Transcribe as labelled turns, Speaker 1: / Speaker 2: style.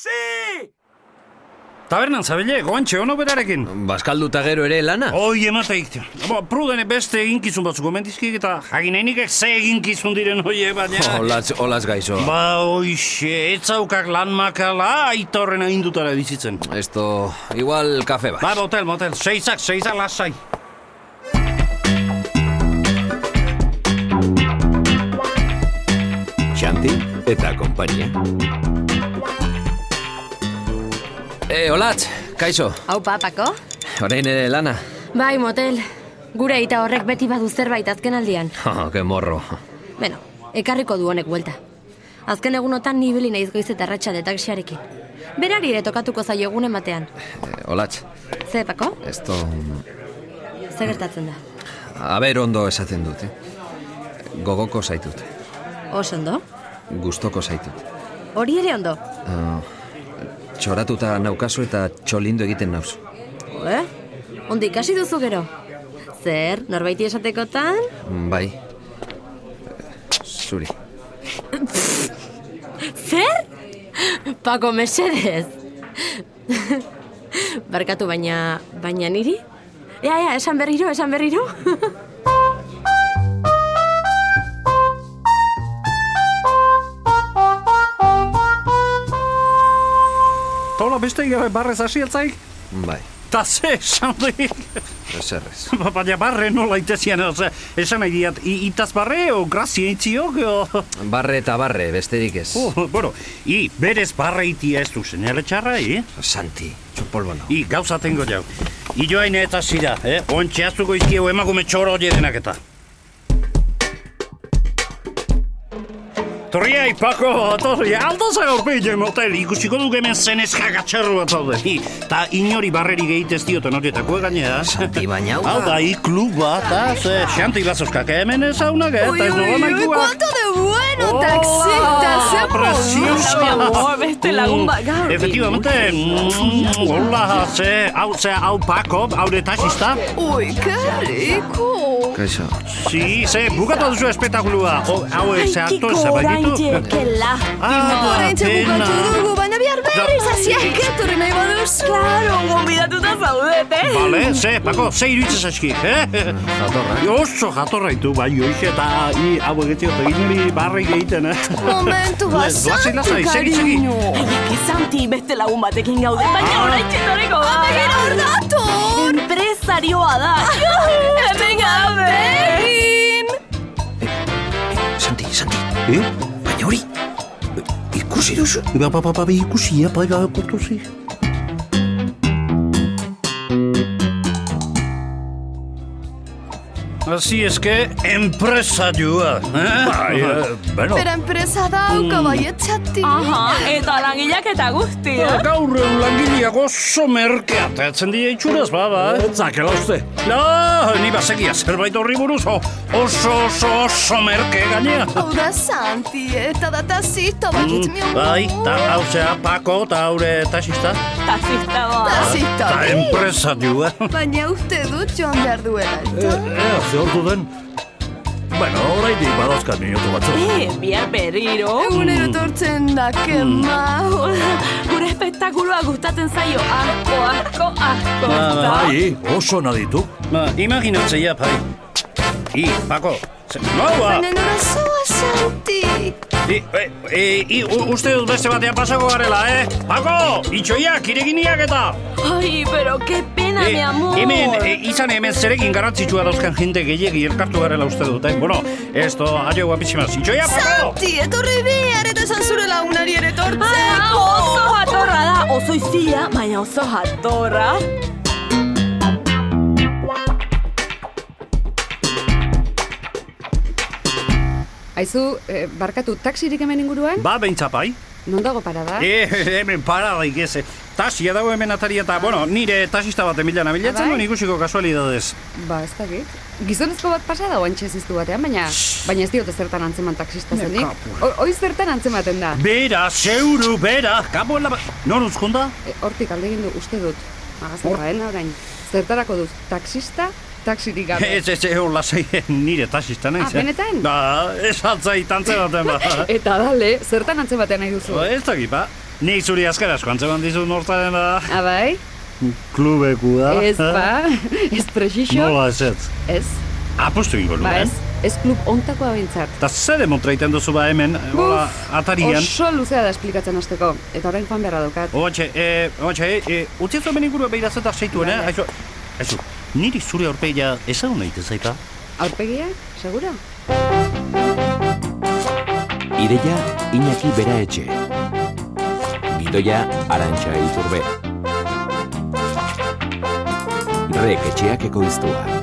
Speaker 1: Taxi!
Speaker 2: Tabernan zabilek, oantxe, ono berarekin.
Speaker 3: Baskalduta gero ere lana?
Speaker 2: Hoi emateik. Bo, prudene beste eginkizun batzuk omendizkik eta jakinainik ze eginkizun diren hoie baina.
Speaker 3: Olaz, olaz gaizo.
Speaker 2: Ba, hoixe, etzaukak lan makala aita horren agindutara bizitzen.
Speaker 3: Esto, igual kafe bat.
Speaker 2: Ba, motel, motel, seizak, seizak lasai.
Speaker 4: Xanti eta kompainia.
Speaker 3: E, olatz, kaixo.
Speaker 5: Hau papako?
Speaker 3: Orain ere lana.
Speaker 5: Bai, motel. Gure aita horrek beti badu zerbait azkenaldian.
Speaker 3: Oh, que morro.
Speaker 5: Beno, ekarriko du honek buelta. Azken egunotan ni ibili naiz goiz eta arratsalde taxiarekin. Berari ere tokatuko zaio egunen batean.
Speaker 3: Eh, olatz,
Speaker 5: Ze, Pako?
Speaker 3: esto...
Speaker 5: Ze gertatzen da?
Speaker 3: Aber ondo esaten dut, eh? Gogoko zaitut.
Speaker 5: Oso ondo?
Speaker 3: Gustoko zaitut.
Speaker 5: Hori ere ondo?
Speaker 3: Ah, txoratuta naukazu eta txolindu egiten nauzu.
Speaker 5: Eh? Ondo ikasi duzu gero? Zer, norbaiti esatekotan?
Speaker 3: Mm, Bai. Zuri.
Speaker 5: Zer? Pako, mesedez. Barkatu baina, baina niri? Ea, ea, esan berriro, esan berriro.
Speaker 2: Tola beste gabe barrez hasi etzaik.
Speaker 3: Bai,
Speaker 2: Ta ze, esan dik.
Speaker 3: eserrez.
Speaker 2: Ba, Baina barre nola itezian, oza, esan nahi diat, i- itaz barre, o grazia itziok, o...
Speaker 3: Barre eta barre, besterik ez.
Speaker 2: Oh, bueno, i, berez barre itia ez du senere txarra, eh?
Speaker 3: Santi, txupolbo nau.
Speaker 2: I, gauzatengo jau. Ioain eta zira, eh? Ontxe aztuko izkiegu emakume txoro hori denak eta. Torria ipako, torria, aldo zen aurpeile motel, ikusiko duk hemen zen eskakatxerru bat zaude. I, ta inori barreri gehit ez dioten horietako gainea.
Speaker 3: Santi, baina hau da.
Speaker 2: Hau da, i klub bat, az, eh, xanti bazoskak hemen ezaunak, eh, eta ez nola nahikoak.
Speaker 5: de
Speaker 6: Oh,
Speaker 5: bueno,
Speaker 6: ah,
Speaker 2: ¡Preciosa!
Speaker 6: beste lagun bat gaur.
Speaker 2: Efectivamente, mm, hola, ze, hau, ze, hau pako, hau de taxista.
Speaker 6: Ui, kariko.
Speaker 3: Kaixo.
Speaker 2: Si, ze, bukatu duzu espetakulua. Ho- Hau, ze, hartu ez,
Speaker 6: oraintxe,
Speaker 2: baitu.
Speaker 6: que
Speaker 2: Ah,
Speaker 6: lastima.
Speaker 2: Oraintxe pena. bukatu dugu,
Speaker 6: baina bihar
Speaker 2: berriz
Speaker 6: hasi eketorri nahi baduz. Claro, gombidatuta zaudete.
Speaker 2: Bale, ze, pako, ze iruditzen zaizkik, eh?
Speaker 3: Jatorra.
Speaker 2: Oso jatorraitu, bai, joiz eta i, hau egetio, eta gineri barrik egiten, eh?
Speaker 6: Momentu
Speaker 2: Lasai, lasai, segi, segi.
Speaker 6: Baina, Santi, beste lagun batekin gaude, baina
Speaker 2: Ah.
Speaker 6: orain txetoriko da. Baina, hor dator! Enpresarioa da. Hemen gaude.
Speaker 3: Santi, Santi,
Speaker 2: Eh?
Speaker 3: baina hori. eh, Ikusi duzu.
Speaker 2: Ba, ba, ba, ba, ikusi, ba, ba, kotuzi. Así es que, empresarioa, eh? Bai, bueno.
Speaker 7: Pero enpresa dauka bai etxatik.
Speaker 6: Aha, eta langileak eta guztia.
Speaker 2: Gaur egun langileak oso merke atatzen dira itxuraz, ba, ba.
Speaker 4: Zakela uste.
Speaker 2: No, ni bazekia zerbait horri buruz, o- oso, oso, oso merke gainea.
Speaker 7: Hau da santi, eta da tazista bakit mion.
Speaker 2: Bai, eta hau zea Pako, eta haure taxista,
Speaker 6: Tazista ba.
Speaker 7: Tazista.
Speaker 2: eta empresarioa.
Speaker 7: Baina uste dut joan behar duela, eta?
Speaker 4: Ea, ze ordu den. Bueno, oraindik badauzkat minutu batzu.
Speaker 6: Eh, bihar berriro.
Speaker 5: eh.
Speaker 7: Egunero tortzen da, kema.
Speaker 6: Gure espektakuloa gustatzen zaio. Asko, asko, asko.
Speaker 2: Ba, ba,
Speaker 6: ezta?
Speaker 4: Bai, oso naditu.
Speaker 2: Ba, imaginatzea, pai. I, Pako, ze- noa!
Speaker 7: Baina nora zoa santi.
Speaker 2: I, e, e, i, u- uste dut beste batean pasako garela, eh? Pako, itxoiak, ireginiak eta...
Speaker 6: Ay, pero qué pena, mi amor.
Speaker 2: hemen, e, izan hemen zerekin garrantzitsua dauzkan jente gehiegi elkartu garela uste dut, eh? Bueno, esto, aio guapisimaz. Itxoia, Pako!
Speaker 7: Santi, etorri bihar eta esan zure lagunari ere
Speaker 6: Ah,
Speaker 7: tortzeko.
Speaker 6: oso jatorra da, oso izia, baina oso jatorra.
Speaker 8: Aizu, eh, barkatu taksirik hemen inguruan?
Speaker 2: Ba, bentsapai.
Speaker 8: Non dago
Speaker 6: Ba.
Speaker 8: parada?
Speaker 2: E, hemen paradaik ez. eh. Tasia dago hemen atari eta, bueno, nire tasista bat emilan abilatzen
Speaker 8: Bai?
Speaker 2: duen ikusiko kasualidades.
Speaker 8: Ba, ez dakit. Gizonezko bat pasa da oantxe ziztu batean, baina baina ez diote zertan antzeman taksista zenik. O- Oiz zertan antzematen da.
Speaker 2: Bera, zeuru, bera, kapo ba- en la... Non uzkonda?
Speaker 8: E, hortik alde egin du uste dut. Magazin baena orain. Zertarako duz, taksista, taksirik gabe.
Speaker 2: Ez, ez, ez, hola, zei, nire tasista naiz. eh?
Speaker 8: Ah, benetan?
Speaker 2: Ba, ez altzai tantze baten, ba.
Speaker 8: Eta dale, zertan antzematen nahi duzu.
Speaker 2: Ba, ez dakit, ba. Nik zuri azkar asko antzeman dizut ba. nortaren da
Speaker 8: Abai,
Speaker 2: klubeku da.
Speaker 8: Ah, bai? ez ba, ez prexixo,
Speaker 2: Ah, Nola ez ez.
Speaker 8: ez,
Speaker 2: Apostu ingo
Speaker 8: ba
Speaker 2: nuen.
Speaker 8: ez, ez klub ontakoa bintzat.
Speaker 2: eh? Ta zer demontra iten duzu ba hemen, hola, atarian.
Speaker 8: oso luzea da esplikatzen hasteko, eta orain joan beharra daukat.
Speaker 2: Oatxe, e, oatxe, e, utzi zuen ben ingurua behira zeta zeituen, eh?
Speaker 8: Bai,
Speaker 2: Aizu, aizu, niri zure aurpeia ezagun egiten zaita.
Speaker 8: Aurpegia, segura?
Speaker 1: Ideia Iñaki Bera Etxe. Gidoia Arantxa Iturbe. Rek etxeak ekoiztua.